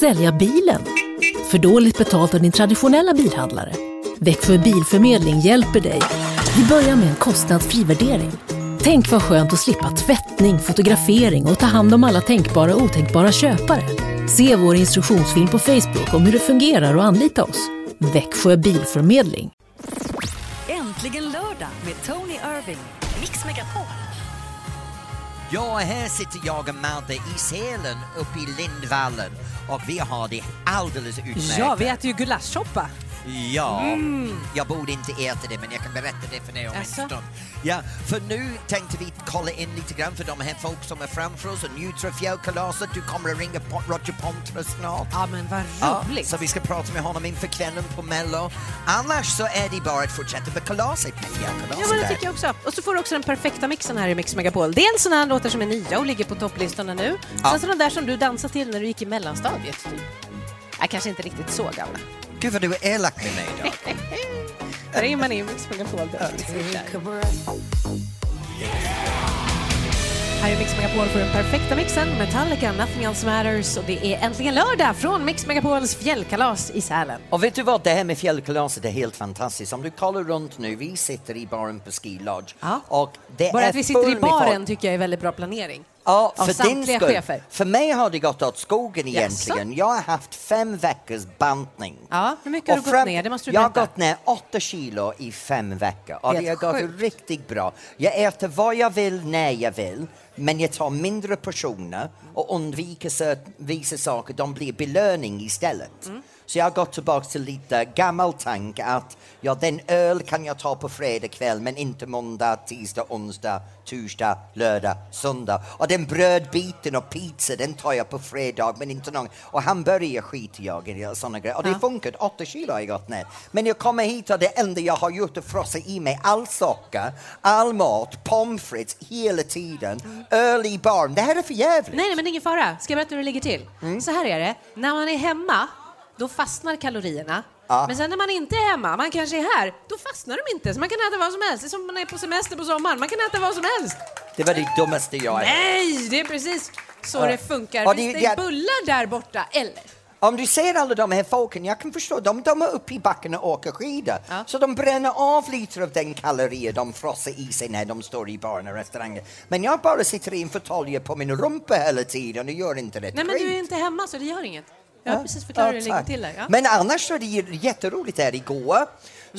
Sälja bilen? För dåligt betalt av din traditionella bilhandlare? Växjö Bilförmedling hjälper dig. Vi börjar med en kostnadsfri värdering. Tänk vad skönt att slippa tvättning, fotografering och ta hand om alla tänkbara och otänkbara köpare. Se vår instruktionsfilm på Facebook om hur det fungerar och anlita oss. Växjö Bilförmedling. Äntligen lördag med Tony Irving. Mix Megapol. Ja, här sitter jag och Madde i Sälen uppe i Lindvallen och vi har det alldeles utmärkt. Ja, Mm. vi äter ju gulaschsoppa. Ja, jag borde inte äta det men jag kan berätta det för dig om Asså? en stund. Ja, för nu tänkte vi kolla in lite grann för de här folk som är framför oss och njuter av fjällkalaset. Du kommer att ringa på Roger Pontare snart. Ja, men vad Ja, roligt. så vi ska prata med honom inför kvällen på Mello. Annars så är det bara att fortsätta med kalaset. med fjällkalaset Ja, men det där. tycker jag också. Och så får du också den perfekta mixen här i Mix Megapol. Dels såna här låtar som är nya och ligger på topplistorna nu. Sen såna där som du dansade till när du gick i mellanstadiet. Typ. Jag kanske inte riktigt så gamla. Gud vad du är elak med mig då. Där är man in Mix Megapol. Där. Här är Mix Megapol för den perfekta mixen. Metallica, Nothing Else Matters. Och det är äntligen lördag från Mix Megapols fjällkalas i Sälen. Och vet du vad, det här med fjällkalaset är helt fantastiskt. Om du kollar runt nu, vi sitter i baren på Ski Lodge. Ja. Och det Bara är att vi sitter i full med folk. baren tycker jag är väldigt bra planering. Ja, av för din samtliga skull. chefer. För mig har det gått åt skogen egentligen. Jag har haft fem veckors bantning. Ja, hur mycket har Och du gått ner? Det måste du jag har berätta. gått ner åtta kilo i fem veckor och Helt det har gått sjukt. riktigt bra. Jag äter vad jag vill när jag vill men jag tar mindre portioner och undviker så- vissa saker. De blir belöning istället. Mm. Så jag har gått tillbaka till lite gammal tanke att ja, den öl kan jag ta på fredag kväll men inte måndag, tisdag, onsdag, torsdag, lördag, söndag. Och den brödbiten och pizza den tar jag på fredag men inte någon. Och hamburgare skiter jag i och sådana grejer. Och det funkar, 8 kilo har jag gått ner. Men jag kommer hit och det enda jag har gjort är att frossa i mig all socker, all mat, pommes frites hela tiden, öl i barn. Det här är för jävligt. Nej, nej, men det är ingen fara. Ska jag berätta hur det ligger till? Mm. Så här är det. När man är hemma, då fastnar kalorierna. Ja. Men sen när man inte är hemma, man kanske är här, då fastnar de inte. Så man kan äta vad som helst. Det är som när man är på semester på sommaren. Man kan äta vad som helst. Det var det dummaste jag har Nej, det är precis så Ja. det funkar. Ja, det- Finns det, det- bullar där borta, eller? Om du ser alla de här folken, jag kan förstå, de, de är uppe i backen och åker skidor. Ja. Så de bränner av lite av den kalorier de frossar i sig när de står i barn och restauranger. Men jag bara sitter i en fåtölj på min rumpa hela tiden och gör inte rätt Nej, men du är skit. inte hemma, så det gör inget. Jag har precis förklarat hur det ligger tack. till där. Ja. Mm. Men annars så är det ju jätteroligt här. Igår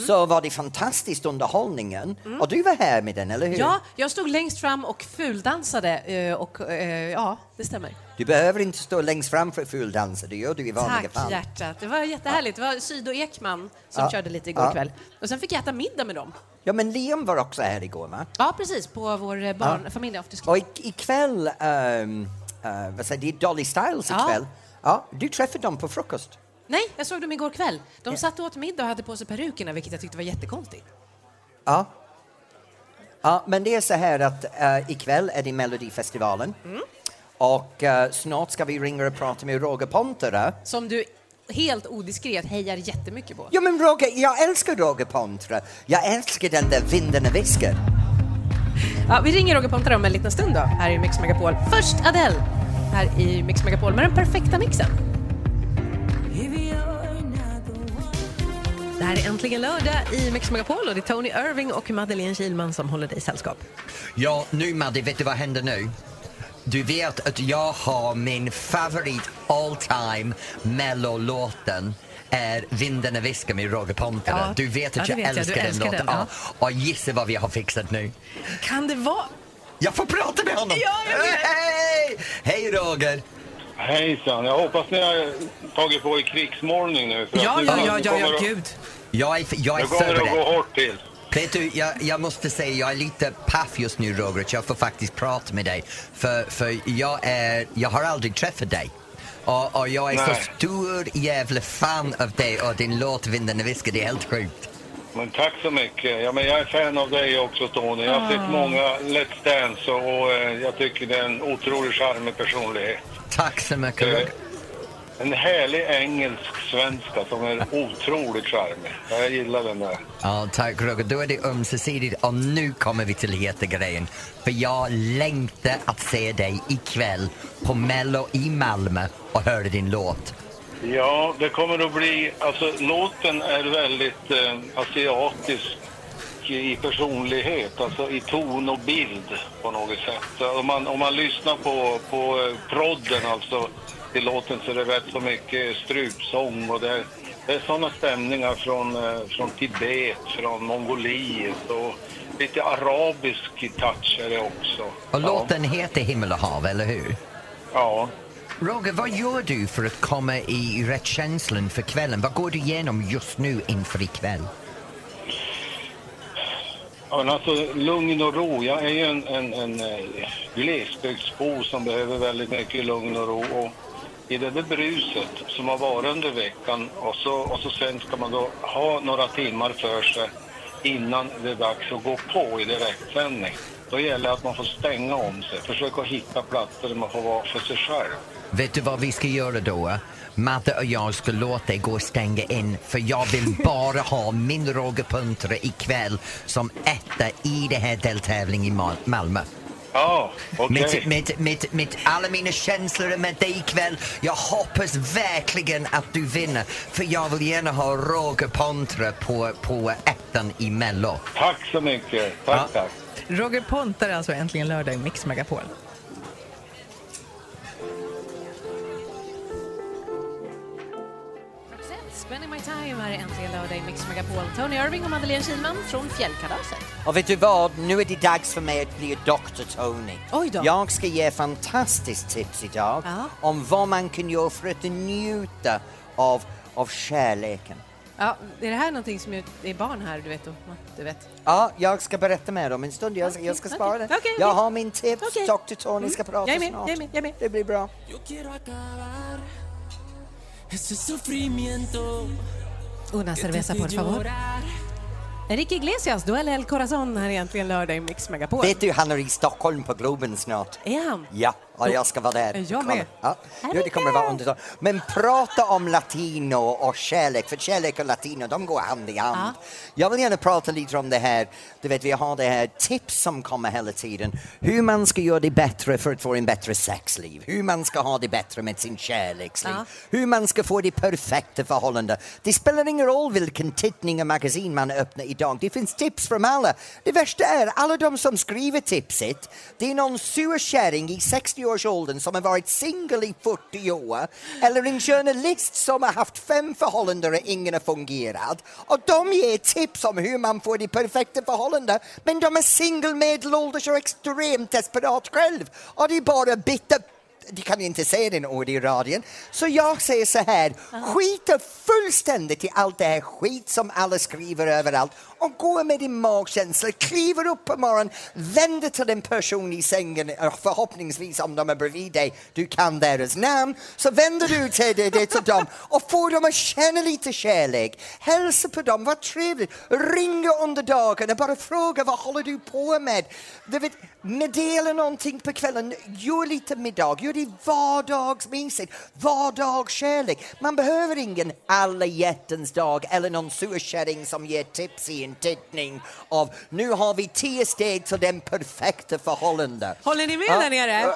så var det fantastiskt underhållningen och du var här med den, eller hur? ja, jag stod längst fram och fuldansade eh, och eh, ja, det stämmer. Du behöver inte stå längst fram för fulldansa, det gör du i vanliga Tack fall. hjärtat, det var jättehärligt. Det var Syd och Ekman som Ja. körde lite igår Ja. kväll. Och sen fick jag äta middag med dem. Ja, men Liam var också här igår, va? Ja, precis, på vår eh, barn, familjeafterski. Och i- ikväll, um, uh, vad säger det, är Dolly Styles Ja. ikväll. Ja, du träffade dem på frukost. Nej, jag såg dem igår kväll. De satt och åt middag och hade på sig perukerna, vilket jag tyckte var jättekonstigt. Ja. Ja, men det är så här att uh, ikväll är det Melodifestivalen. Och eh, snart ska vi ringa och prata med Roger Pontare. Som du helt odiskret hejar jättemycket på. Ja men Roger, jag älskar Roger Pontare. Jag älskar den där vinden och viskar. Ja, vi ringer Roger Pontare om en liten stund då, här i Mix Megapol. Först Adele, här i Mix Megapol med den perfekta mixen. Det här är äntligen lördag i Mix Megapol och det är Tony Irving och Madeleine Kilman som håller dig sällskap. Ja, nu Madde, vet du vad händer nu? Du vet att jag har min favorit all time mellolåten är Vinden och viskar med Roger Pontare. Ja, Du vet ja, att det jag vet jag. Du älskar den älskar låten. den, ja. Ja, Och gissa vad vi har fixat nu. Kan det vara... Jag får prata med honom! Ja, jag vet. Hej! Hej Roger! Hejsan, jag hoppas ni har tagit på i krigsmålning nu. För Ja, att ja, nu- ja, nu ja, kommer ja det- gud. Jag är, jag är Nu kommer det att gå förberedd. hårt till. Vet du, jag, jag måste säga jag är lite paff just nu Roger, att jag får faktiskt prata med dig. För, för jag, är, jag har aldrig träffat dig. Och, och jag är så Nej. stor jävla fan av dig och din låt Vinden och viskar, det är helt sjukt. Men tack så mycket. Ja, men jag är fan av dig också Tony. Jag har Ah. sett många Let's Dance och, och eh, jag tycker det är en otroligt charmig personlighet. Tack så mycket Eh, Roger. en härlig engelsk-svenska som är otroligt charmig. Jag gillar den där. Ja, tack Roger. Då är det ömsesidigt och nu kommer vi till hetegrejen. För jag längtar att se dig ikväll på Mello i Malmö och höra din låt. Ja, det kommer att bli... Alltså, låten är väldigt eh, asiatisk i personlighet, alltså i ton och bild på något sätt. Så Om man, om man lyssnar på, på eh, prodden, alltså, i låten så är det rätt så mycket strupsång och det är, det är sådana stämningar från, eh, från Tibet, från Mongoliet och lite arabisk touch är det också. Och låten heter Himmel och hav, eller hur? Ja. Roger, vad gör du för att komma i rätt känslan för kvällen? Vad går du igenom just nu inför ikväll? Ja, men alltså, lugn och ro. Jag är ju en, en, en eh, glesbygdsbo som behöver väldigt mycket lugn och ro. Och I det där bruset som har varit under veckan och så, och så sen ska man då ha några timmar för sig innan det är dags att gå på i direktsändning. Då gäller det att man får stänga om sig, försöka hitta platser där man får vara för sig själv. Vet du vad vi ska göra då? Madde och jag ska låta dig gå och stänga in för jag vill bara ha min Roger Puntare ikväll som etta i det här deltävlingen i Mal- Malmö. Ja, okej. Mitt, mitt, mitt, mitt, alla mina känslor är med dig ikväll. Jag hoppas verkligen att du vinner för jag vill gärna ha Roger Puntare på, på ettan i Mello. Tack så mycket. Tack, Ja. tack. Roger Pontar alltså äntligen lördag i Mix Megapol. Spending my time här är äntligen lördag i Mix Megapol. Tony Irving och Madeleine Kilman från Fjällkalaset. Och vet du vad? Nu är det dags för mig att bli Dr Tony. Oj då. Jag ska ge fantastiskt tips idag Ja. om vad man kan göra för att njuta av, av kärleken. Ja, är det här någonting som är- är barn här, du vet? och- Du vet. Ja, jag ska berätta mer om en stund. Jag, Okej, jag ska okej. spara det. Okej, jag okej. har min tips. Okej. Mm. Dr Tony ska prata Jag är med, snart. jag är med, jag är med. Det blir bra. Una cerveza, por favor. Enrique Iglesias, Duell El Corazon här är äntligen lördag i Mix Megapol. Vet du, han är i Stockholm på Globen snart. Är han? Ja, och jag ska vara där. Är jag med? Kolla. Ja. Jo, det kommer vara underbart. Men prata om latino och kärlek, för kärlek och latino, de går hand i hand. Jag vill gärna prata lite om det här, du vet, vi har det här tips som kommer hela tiden. Hur man ska göra det bättre för att få en bättre sexliv, hur man ska ha det bättre med sin kärleksliv, hur man ska få det perfekta förhållandet. Det spelar ingen roll vilken tidning och magasin man öppnar idag, det finns tips från alla. Det värsta är, alla de som skriver tipset, det är någon sur kärring i 60-årsåldern som har varit singel i 40 år eller en journalist som har haft fem förhållanden och ingen har fungerat. Och de ger tips om hur man får det perfekta förhållandet men de är singel, medelålders och extremt desperat själv. Och det är bara bitter de kan ju inte säga den ord i radion. Så jag säger så här, skita fullständigt i allt det här skit som alla skriver överallt och gå med din magkänsla, kliver upp på morgonen, vänder till en person i sängen, och förhoppningsvis om de är bredvid dig, du kan deras namn, så vänder du till dig, dig till dem och får dem att känna lite kärlek. Hälsa på dem, vad trevligt. Ringa under dagen och bara fråga vad håller du på med? Du vet, meddela någonting på kvällen, gör lite middag, gör det vardagsmysigt, vardagskärlek. Man behöver ingen alla hjärtans dag eller någon surkärring som ger tips i en tidning av nu har vi tio steg till den perfekta förhållande. Håller ni med Ja. där nere? Ja.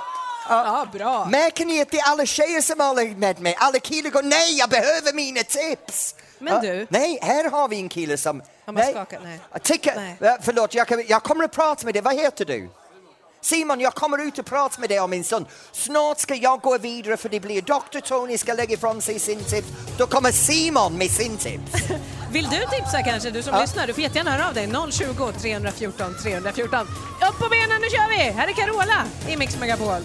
Ja, bra. Märker ni att det är alla tjejer som håller med mig? Alla killar går nej, jag behöver mina tips! Men Ja, du- Nej, här har vi en kille som... Ja, man skakar, nej. Jag Tycker, Nej. Ja, Förlåt, jag, kan, jag kommer att prata med dig. Vad heter du? Simon, jag kommer ut och prata med dig om min son. Snart ska jag gå vidare för det blir Dr. Tony ska lägga ifrån sig sin tips. Då kommer Simon med sin tips. Vill du tipsa kanske, du som lyssnar? Du får jättegärna höra av dig. 020 314 314. Upp på benen, nu kör vi! Här är Carola i Mix Megapol.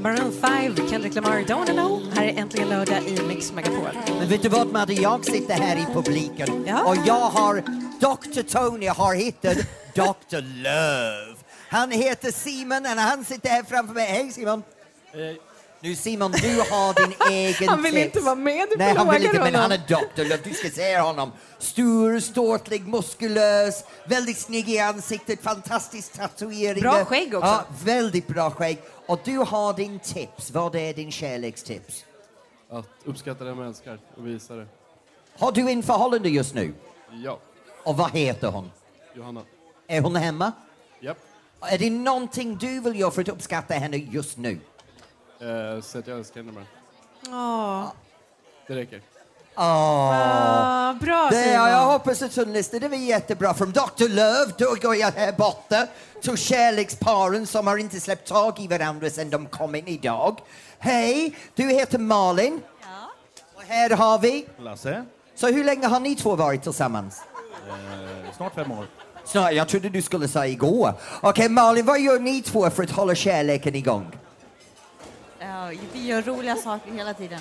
Maroon 5, Kendrick Lamar, Don't I know. Här är äntligen lördag i Mix Megapol. Men vet du vad Madde, jag sitter här i publiken Ja. och jag har, Dr Tony har hittat Dr Love. Han heter Simon och han sitter här framför mig. Hej Simon! Nu Simon, du har din egen Han vill text. inte vara med, du Nej, han vill plågar inte, men honom. han är Dr. Love. Du ska se honom. Stor, ståtlig, muskulös, väldigt snygg i ansiktet, fantastisk tatuering. Bra skägg också. Ja, väldigt bra skägg. Och du har din tips. Vad är din kärlekstips? Att uppskatta det man älskar och visa det. Har du en förhållande just nu? Ja, Och vad heter hon? Johanna. Är hon hemma? Japp. Är det någonting du vill göra för att uppskatta henne just nu? Eh, så att jag älskar henne bara. Det räcker. Ah, bra Det, ja, Simon. jag hoppas att hon lyssnar. Det var jättebra. Från Dr. Löv, då går jag här borta till kärleksparen som har inte släppt tag i varandra sedan de kom in idag. Hej, du heter Malin. Ja. Och här har vi... Lasse, Så hur länge har ni två varit tillsammans? snart fem år. Snarare, jag trodde du skulle säga igår. Okej, Malin, vad gör ni två för att hålla kärleken igång? Ja, vi gör roliga saker hela tiden.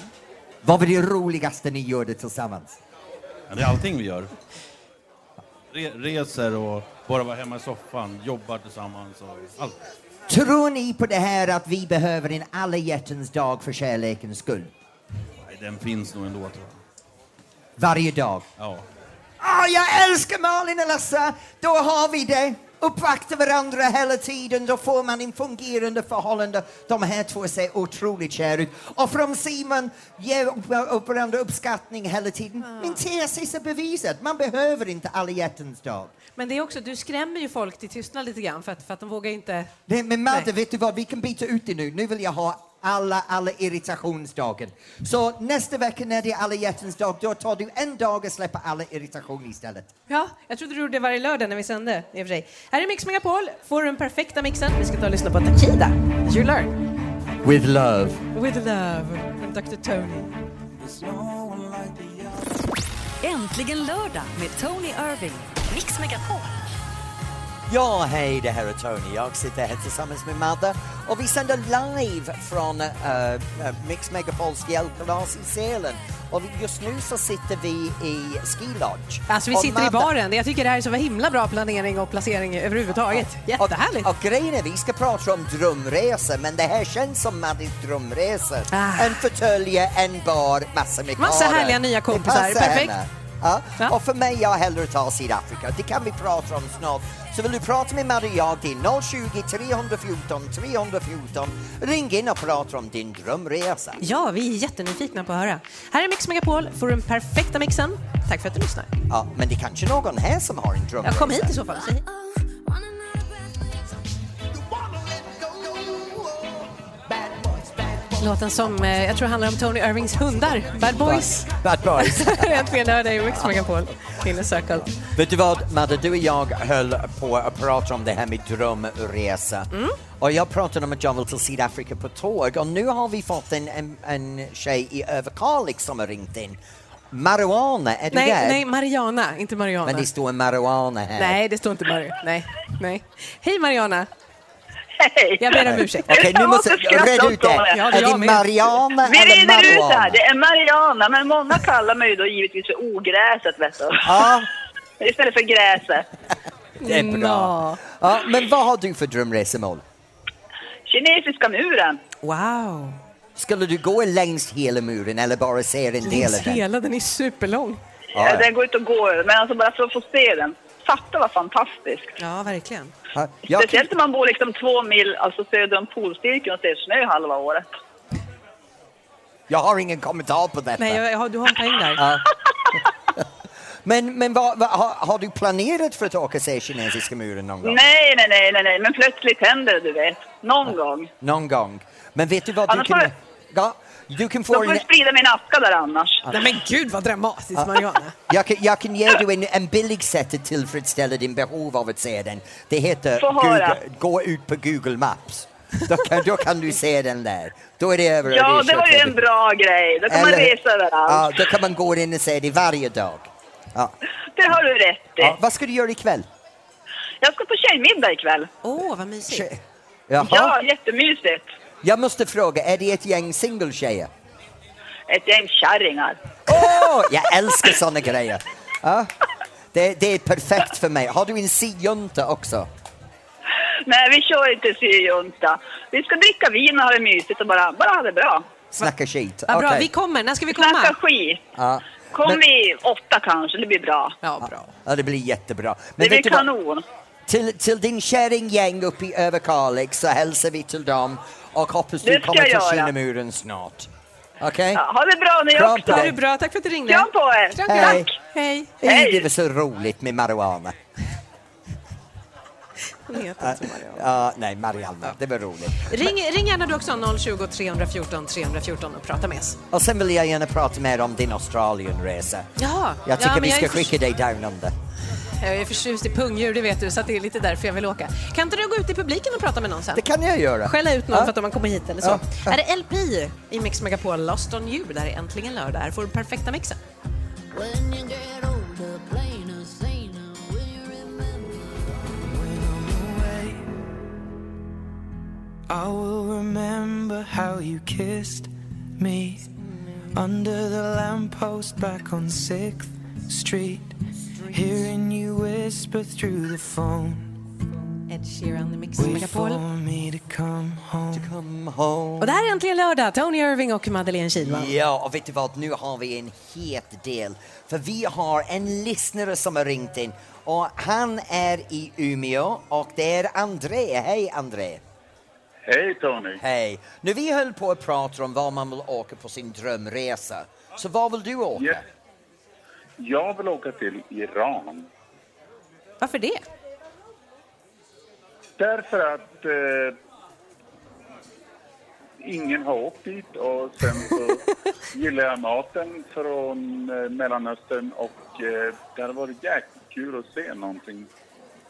Vad var det roligaste ni gjorde tillsammans? Ja, det är allting vi gör. Re reser och bara vara hemma i soffan, jobbar tillsammans och allt. Tror ni på det här att vi behöver en alla hjärtans dag för kärlekens skull? Nej, den finns nog ändå tror jag. Varje dag? Ja. Ah, jag älskar Malin och Lasse! Då har vi det. Uppvakta varandra hela tiden, då får man en fungerande förhållande. De här två ser otroligt kära ut. Och från Simon, ge upp- upp varandra uppskattning hela tiden. Min tesis är beviset. Man behöver inte alla hjärtans dag. Men det är också, du skrämmer ju folk till tystnad lite grann för att, för att de vågar inte... Nej, men Madde, Nej. vet du vad? Vi kan byta ut det nu. Nu vill jag ha alla, alla irritationsdagen. Så nästa vecka när det är alla hjärtans dag, då tar du en dag och släpper alla irritation istället. Ja, jag trodde du gjorde det varje lördag när vi sände i och för sig. Här är Mix Megapol, får du den perfekta mixen. Vi ska ta och lyssna på Takida, You Learn, With love. With Love, från Dr. Tony. Äntligen lördag med Tony Irving. Mix Megapol. Ja, hej, det här är Tony. Jag sitter här tillsammans med Madde och vi sänder live från eh, eh, Mix Megapols fjällkalas i Sälen. Och vi- just nu så sitter vi i Ski Lodge. Alltså vi Och sitter i Madde- baren. Jag tycker det här är så himla bra planering och placering överhuvudtaget. Jättehärligt. Och, och grejen är, vi ska prata om drömresor, men det här känns som Maddys drömresor. Ah. En förtölje, en bar, massor med Massa karer. härliga nya Det kompisar. passar Perfekt. henne. Ja. Ja. Och för mig, jag hellre tar Sydafrika. Det kan vi prata om snart. Så vill du prata med Madde och jag, det är 020 314 314. Ring in och prata om din drömresa. Ja, vi är jättenyfikna på att höra. Här är Mix Megapol, får du den perfekta mixen. Tack för att du lyssnar. Ja, men det är kanske någon här som har en drömresa. Jag kom hit i så fall. Säg. Låten som eh, jag tror handlar om Tony Irvings hundar, Bad Boys. Bad boys. Äntligen hör dig i Mix Megapol, Inner Circle. Vet du vad, Madde, du och jag höll på att prata om det här med drömresa. Och jag pratade om att jag vill till Sydafrika på tåg och nu har vi fått en, en, en tjej i Överkalix som har ringt in. Marijuana, är du Nej, där? nej, Mariana, inte Mariana. Men det står en marijuana här. Nej, det står inte Mariana. Nej, nej. Hej Mariana, Hej! jag ber om ursäkt. Okej, nu Jag måste måste skratta reda ut åt det. det. Ja, det är jag det med. Mariana Vi eller reder ut det marijuana? här. Det är Mariana, men många kallar mig ju då givetvis för ogräset, vet du. Ja, Istället för gräset. det är bra. Nå. Ja, men vad har du för drömresemål? Kinesiska muren. Wow. Skulle du gå längs hela muren eller bara se en del Längs av den? hela, den är superlång. Ja, ja. Eh, Den går inte att gå över, men alltså bara för att få se den. Fatta vad fantastiskt. Ja, verkligen. Ja, typ. jag- Speciellt när man bor liksom två mil alltså söder om polcirkeln och ser snö halva året. Jag har ingen kommentar på detta. Nej, jag, jag, har- du har en poäng där. Men, men vad, vad, har, har du planerat för att åka och se kinesiska muren någon gång? Nej, nej, nej, nej, nej, men plötsligt händer det, du vet. Någon gång. Någon gång. Men vet du vad du Annars kan... får- Ja, du kan Då få får en, du sprida min aska där annars. Nej men gud vad dramatiskt Mariana. jag, kan, jag kan ge dig en, en billig sätt att tillfredsställa din behov av att se den. Det heter Få höra. Google, gå ut på Google Maps. Då kan, då kan du se den där. Då är det över. och Ja, är det var ju kört. en bra grej. Då kan man Eller- resa överallt. Ja, då kan man gå in och se det varje dag. Ja. Det har du rätt i. Ja, vad ska du göra ikväll? Jag ska på tjejmiddag ikväll. Åh, vad mysigt. Jaha. Ja, jättemysigt. Jag måste fråga, är det ett gäng singeltjejer? Ett gäng kärringar. Åh, jag älskar såna grejer. Ja. Det, det är perfekt för mig. Har du en sijunta också? Nej, vi kör inte syjunta. Vi ska dricka vin och ha det mysigt och bara, bara ha det bra. Snacka skit. Vad bra, Okej. vi kommer. När ska vi komma? Snacka skit. Ja. Kom Men- i åtta kanske, det blir bra. Ja, bra. Ja, det blir jättebra. Det blir vet du vad? kanon. Till, till din kärringgäng uppe i Överkalix så hälsar vi till dem och hoppas Det du ska kommer jag till göra. Kinnemuren snart. Okej? Ja, ha det bra ni Kram också. på dig. Ha det bra, tack för att du ringde. Kram på er. Hej. Tack. Hej. Hej. Det var så roligt med marijuana. Ja, nej, Marianna, det var roligt. Ring, ring gärna du också 020 314 314 och prata med oss. Och sen vill jag gärna prata mer om din Australienresa. Jaha. Jag tycker Ja, men vi jag ska är förs- skicka dig down under. Jag är förtjust i pungdjur, det vet du, så att det är lite därför jag vill åka. Kan inte du gå ut i publiken och prata med någon sen? Det kan jag göra. Skälla ut någon Ja. för att de har kommit hit eller så. Ja, ja. Är det LP i Mix Megapol Lost on You? Där är äntligen lördag. Här får du perfekta mixen. I will remember how you kissed me under the lamppost back on 6th Street, hearing you whisper through the phone. Ed Sheeran i Mix Wait Megapol. for me to come home. Och det här är äntligen lördag. Tony Irving och Madeleine Kihlman. Ja, och vet du vad, nu har vi en het del. För vi har en lyssnare som har ringt in och han är i Umeå och det är André. Hej André! Hej Tony! Hej! Nu vi höll på att prata om var man vill åka på sin drömresa, så var vill du åka? Ja. Jag vill åka till Iran. Varför det? Därför att eh, ingen har åkt dit och sen så gillar jag maten från eh, Mellanöstern och eh, det hade varit jäkligt kul att se någonting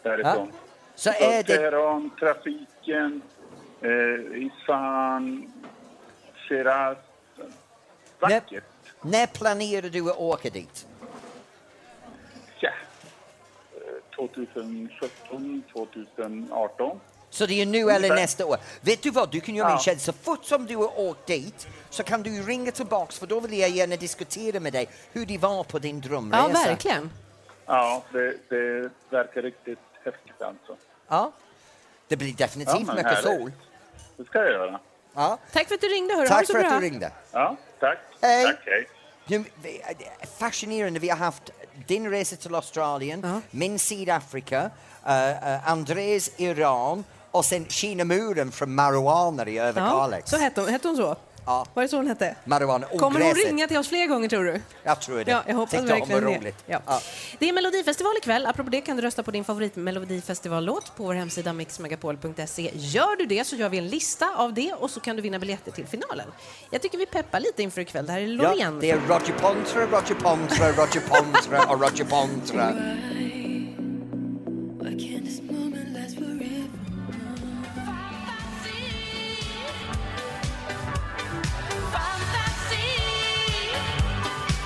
därifrån. Så är det- Teheran, trafiken, eh, Isfahan, Shiraz. Vackert! När, när planerar du att åka dit? Ja. Eh, 2017, 2018. Så det är nu eller Ungefär. nästa år. Vet du vad, du kan göra Ja. min tjänst. Så fort som du har åkt dit så kan du ringa tillbaks för då vill jag gärna diskutera med dig hur det var på din drömresa. Ja, det, det verkar riktigt häftigt alltså. Ja. Det blir definitivt men mycket härligt. sol. Det ska jag göra. Ja. Tack för att du ringde. Hörru. Ha det Tack så för att bra. du ringde. Ja, tack. Hej. Tack, hej. Nu, vi- eh, fascinerande, vi har haft din resa till Australien, min Sydafrika, eh, eh, Andres Iran och sen Kinamuren från Marijuana i Överkalix. så hette hon, hette hon så? Ja. Var det så hon hette? Marijuana, Kommer hon ogräset. ringa till oss fler gånger tror du? Jag tror det. Ja, jag hoppas Tänkte hon var verkligen det. roligt. Ja. Det är Melodifestival ikväll. Apropå det kan du rösta på din favorit Melodifestivallåt på vår hemsida mixmegapol.se. Gör du det så gör vi en lista av det och så kan du vinna biljetter till finalen. Jag tycker vi peppar lite inför ikväll. Det här är Ja, Loreen. det är Roger Pontra, Roger Pontra, Roger Pontra och Roger Pontra.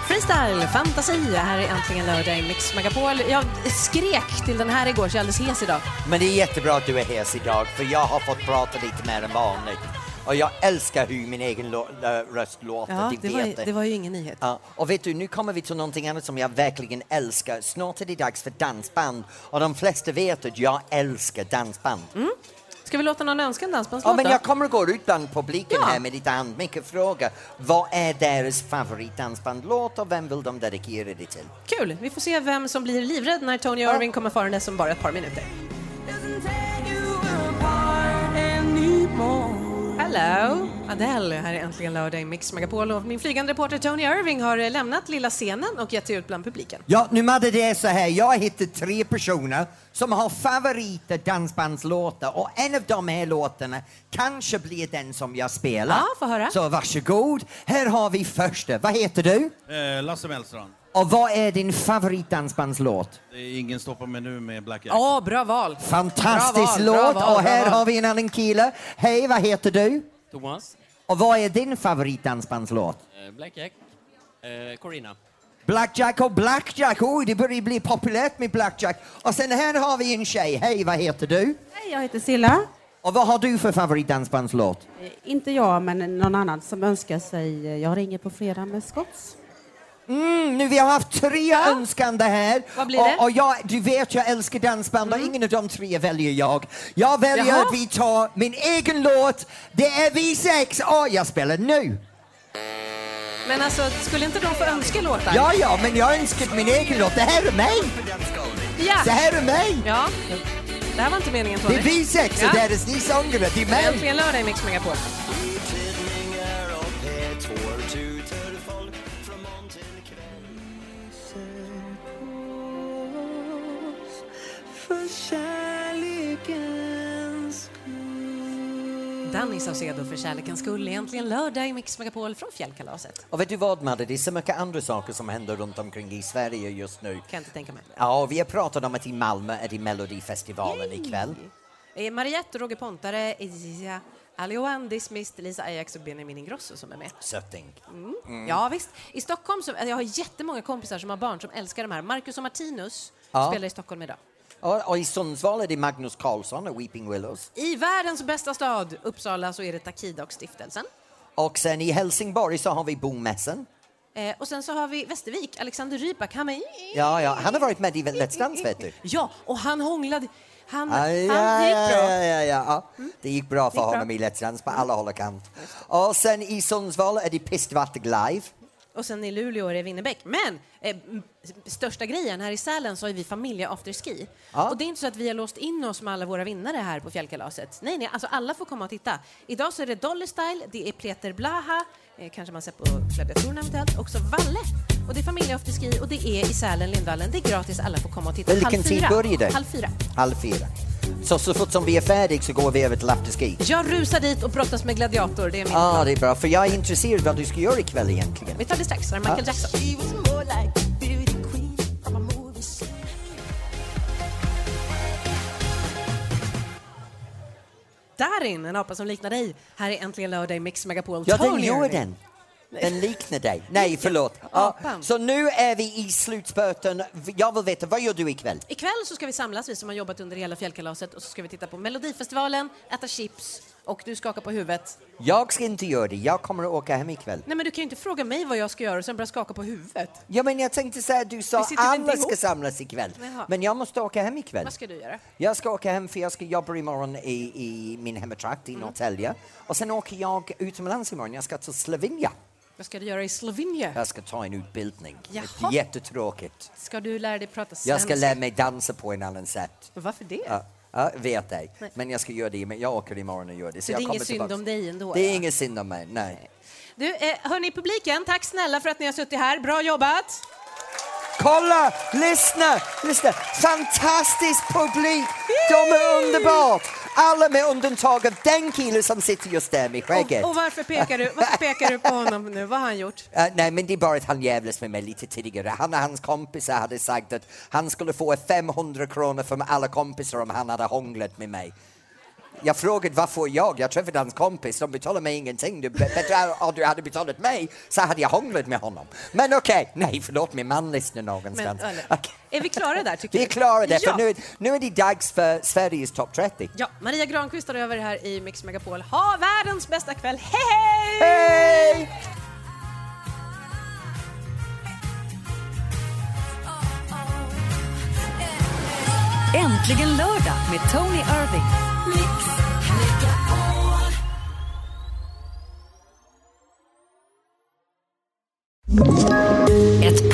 Freestyle, fantasi. Här är äntligen lördag i Mix Megapol. Jag skrek till den här igår så jag är alldeles hes idag. Men det är jättebra att du är hes idag för jag har fått prata lite mer än vanligt. Och jag älskar hur min egen lo- lo- röst låter, Ja, det det, var ju, vet det var ju ingen nyhet. Ja, och vet du, nu kommer vi till någonting annat som jag verkligen älskar. Snart är det dags för dansband och de flesta vet att jag älskar dansband. Mm, Ska vi låta någon önska en dansbandslåt Ja, men då? jag kommer att gå ut bland publiken Ja. här med lite handmycket fråga. Vad är deras favoritdansbandlåt och vem vill de dedikera det till? Kul! Vi får se vem som blir livrädd när Tony Irving kommer farandes om bara ett par minuter. Hello! Adele, här är äntligen lördag i Mix Megapol och min flygande reporter Tony Irving har eh, lämnat lilla scenen och gett sig ut bland publiken. Ja, nu hade det är så här. Jag har hittat tre personer som har favoriter dansbandslåtar och en av de här låtarna kanske blir den som jag spelar. Ja, få höra. Så varsågod. Här har vi första. Vad heter du? Eh, Lasse Mellstrand. Och vad är din favoritdansbandslåt? Det är ingen stoppar mig nu med Black Jack. Ja, bra val! Fantastisk Bra val, bra låt! val, och bra här val. har vi en annan kille. Hej, vad heter du? Thomas, Och vad är din favoritdansbandslåt? eh, Blackjack, eh, Corina. Blackjack och Blackjack. Oj, det börjar bli populärt med Blackjack. Och sen här har vi en tjej. Hej, vad heter du? Hej, jag heter Silla. Och vad har du för favoritdansbandslåt? Eh, Inte jag, men någon annan som önskar sig eh, Jag ringer på fredag med Scotts. Mm, nu vi har haft tre önskande här. Vad blir det? Och, och jag, du vet jag älskar dansband Mm. och ingen av de tre väljer jag. Jag väljer Jaha. att vi tar min egen låt. Det är vi sex och jag spelar nu. Men alltså, skulle inte de få önska låtar? Ja, ja, men jag önskar min egen låt. Det här är mig. Ja. Det här är mig. Ja. Det här var inte meningen Det Tony. är vi sex och Ja. det här är ni sångare. Det är mig. Äntligen lördag i Mix Megapol. Danny Saucedo för kärlekens skull. Äntligen lördag i Mix Megapol från Fjällkalaset. Och vet du vad Madde, det är så mycket andra saker som händer runt omkring i Sverige just nu. Kan jag inte tänka mig. Ja, vi har pratat om att i Malmö är det Melodifestivalen ikväll. Eh, Mariette, Roger Pontare, Isia, Alioan, Dismissed, Lisa Ajax och Benjamin Ingrosso som är med. Sötting. Mm. Mm. Ja visst. I Stockholm så, jag har jättemånga kompisar som har barn som älskar de här. Marcus och Martinus Ja. spelar i Stockholm idag. Och, och i Sundsvall är det Magnus Carlsson och Weeping Willows. I världens bästa stad, Uppsala, så är det Takida och stiftelsen. Och sen i Helsingborg så har vi Bomässan. Eh, och sen så har vi Västervik, Alexander Rybak, han är... Ja, ja, han har varit med i Let's Dance vet du. Ja, och han hånglade. Han, Ah, ja, han det gick bra. Mm. ja, ja, ja, ja. Det gick bra för Det gick bra. honom i Let's Dance på alla håll och kant. Och sen i Sundsvall är det Pistvatteg live. Och sen i Luleå är det Winnerbäck. Men eh, m- största grejen, här i Sälen så har vi familje-afterski. Ja. Och det är inte så att vi har låst in oss med alla våra vinnare här på Fjällkalaset. Nej, nej, alltså alla får komma och titta. Idag så är det Dolly Style, det är Peter Blaha, eh, kanske man ser på klaviaturen eventuellt, också Valle. Och det är familje-afterski och det är i Sälen, Lindvallen. Det är gratis, alla får komma och titta. Vilken Halv tid fyra. börjar det? Halv fyra. Halv fyra. Så, så fort som vi är färdiga så går vi över till afterski. Jag rusar dit och brottas med Gladiator, det är min Ja, ah, plan. det är bra, för jag är intresserad av vad du ska göra ikväll egentligen. Vi tar det strax, så är det Michael Ja. Jackson. Darin, en apa som liknar dig. Här är äntligen lördag i Mix Megapol. Ja, den Tony gör Irving. den. Den liknar dig. Nej, förlåt. Ja, Apan. så nu är vi i slutspurten. Jag vill veta, vad gör du ikväll? Ikväll så ska vi samlas, vi som har jobbat under hela fjällkalaset, och så ska vi titta på Melodifestivalen, äta chips och du skakar på huvudet. Jag ska inte göra det. Jag kommer att åka hem ikväll. Nej, men du kan ju inte fråga mig vad jag ska göra och sen börja skaka på huvudet. Ja, men jag tänkte säga, du Vi sa sitter väl inte alla ska ihop? samlas ikväll. Jaha. Men jag måste åka hem ikväll. Vad ska du göra? Jag ska åka hem för jag ska jobba imorgon i, i min hemmatrakt i Mm. Norrtälje. Och sen åker jag utomlands imorgon. Jag ska till Slovenien. Vad ska du göra i Slovenien? Jag ska ta en utbildning. Jaha. Jättetråkigt. Ska du lära dig prata svenska? Jag ska lära mig dansa på en annan sätt. Varför det? Ja, ja, vet ej. Nej. Men jag ska göra det. Men jag åker imorgon och gör det. Så det är jag ingen kommer synd tillbaks. om dig ändå? Det är ja. ingen synd om mig, nej. Du, eh, hörni i publiken, tack snälla för att ni har suttit här. Bra jobbat! Kolla, lyssna, lyssna. Fantastisk publik. De är underbart. Alla med undantag av den killen som sitter just där med skägget. Och varför pekar, du, varför pekar du på honom nu? Vad har han gjort? Eh, nej, men det är bara att han jävlas med mig lite tidigare. Han och hans kompisar hade sagt att han skulle få 500 kronor från alla kompisar om han hade hånglat med mig. Jag frågade varför jag? Jag träffade hans kompis, de betalade mig ingenting. Du, bättre om du hade betalat mig så hade jag hånglat med honom. Men okej, nej förlåt, min man lyssnar någonstans. Men, eller- Okej. Är vi klara där tycker Vi är klara där, Ja. för nu, nu är det dags för Sveriges topp 30. Ja, Maria Granqvist tar över här i Mix Megapol. Ha världens bästa kväll. Hej, hej! Äntligen lördag med Tony Irving. Ett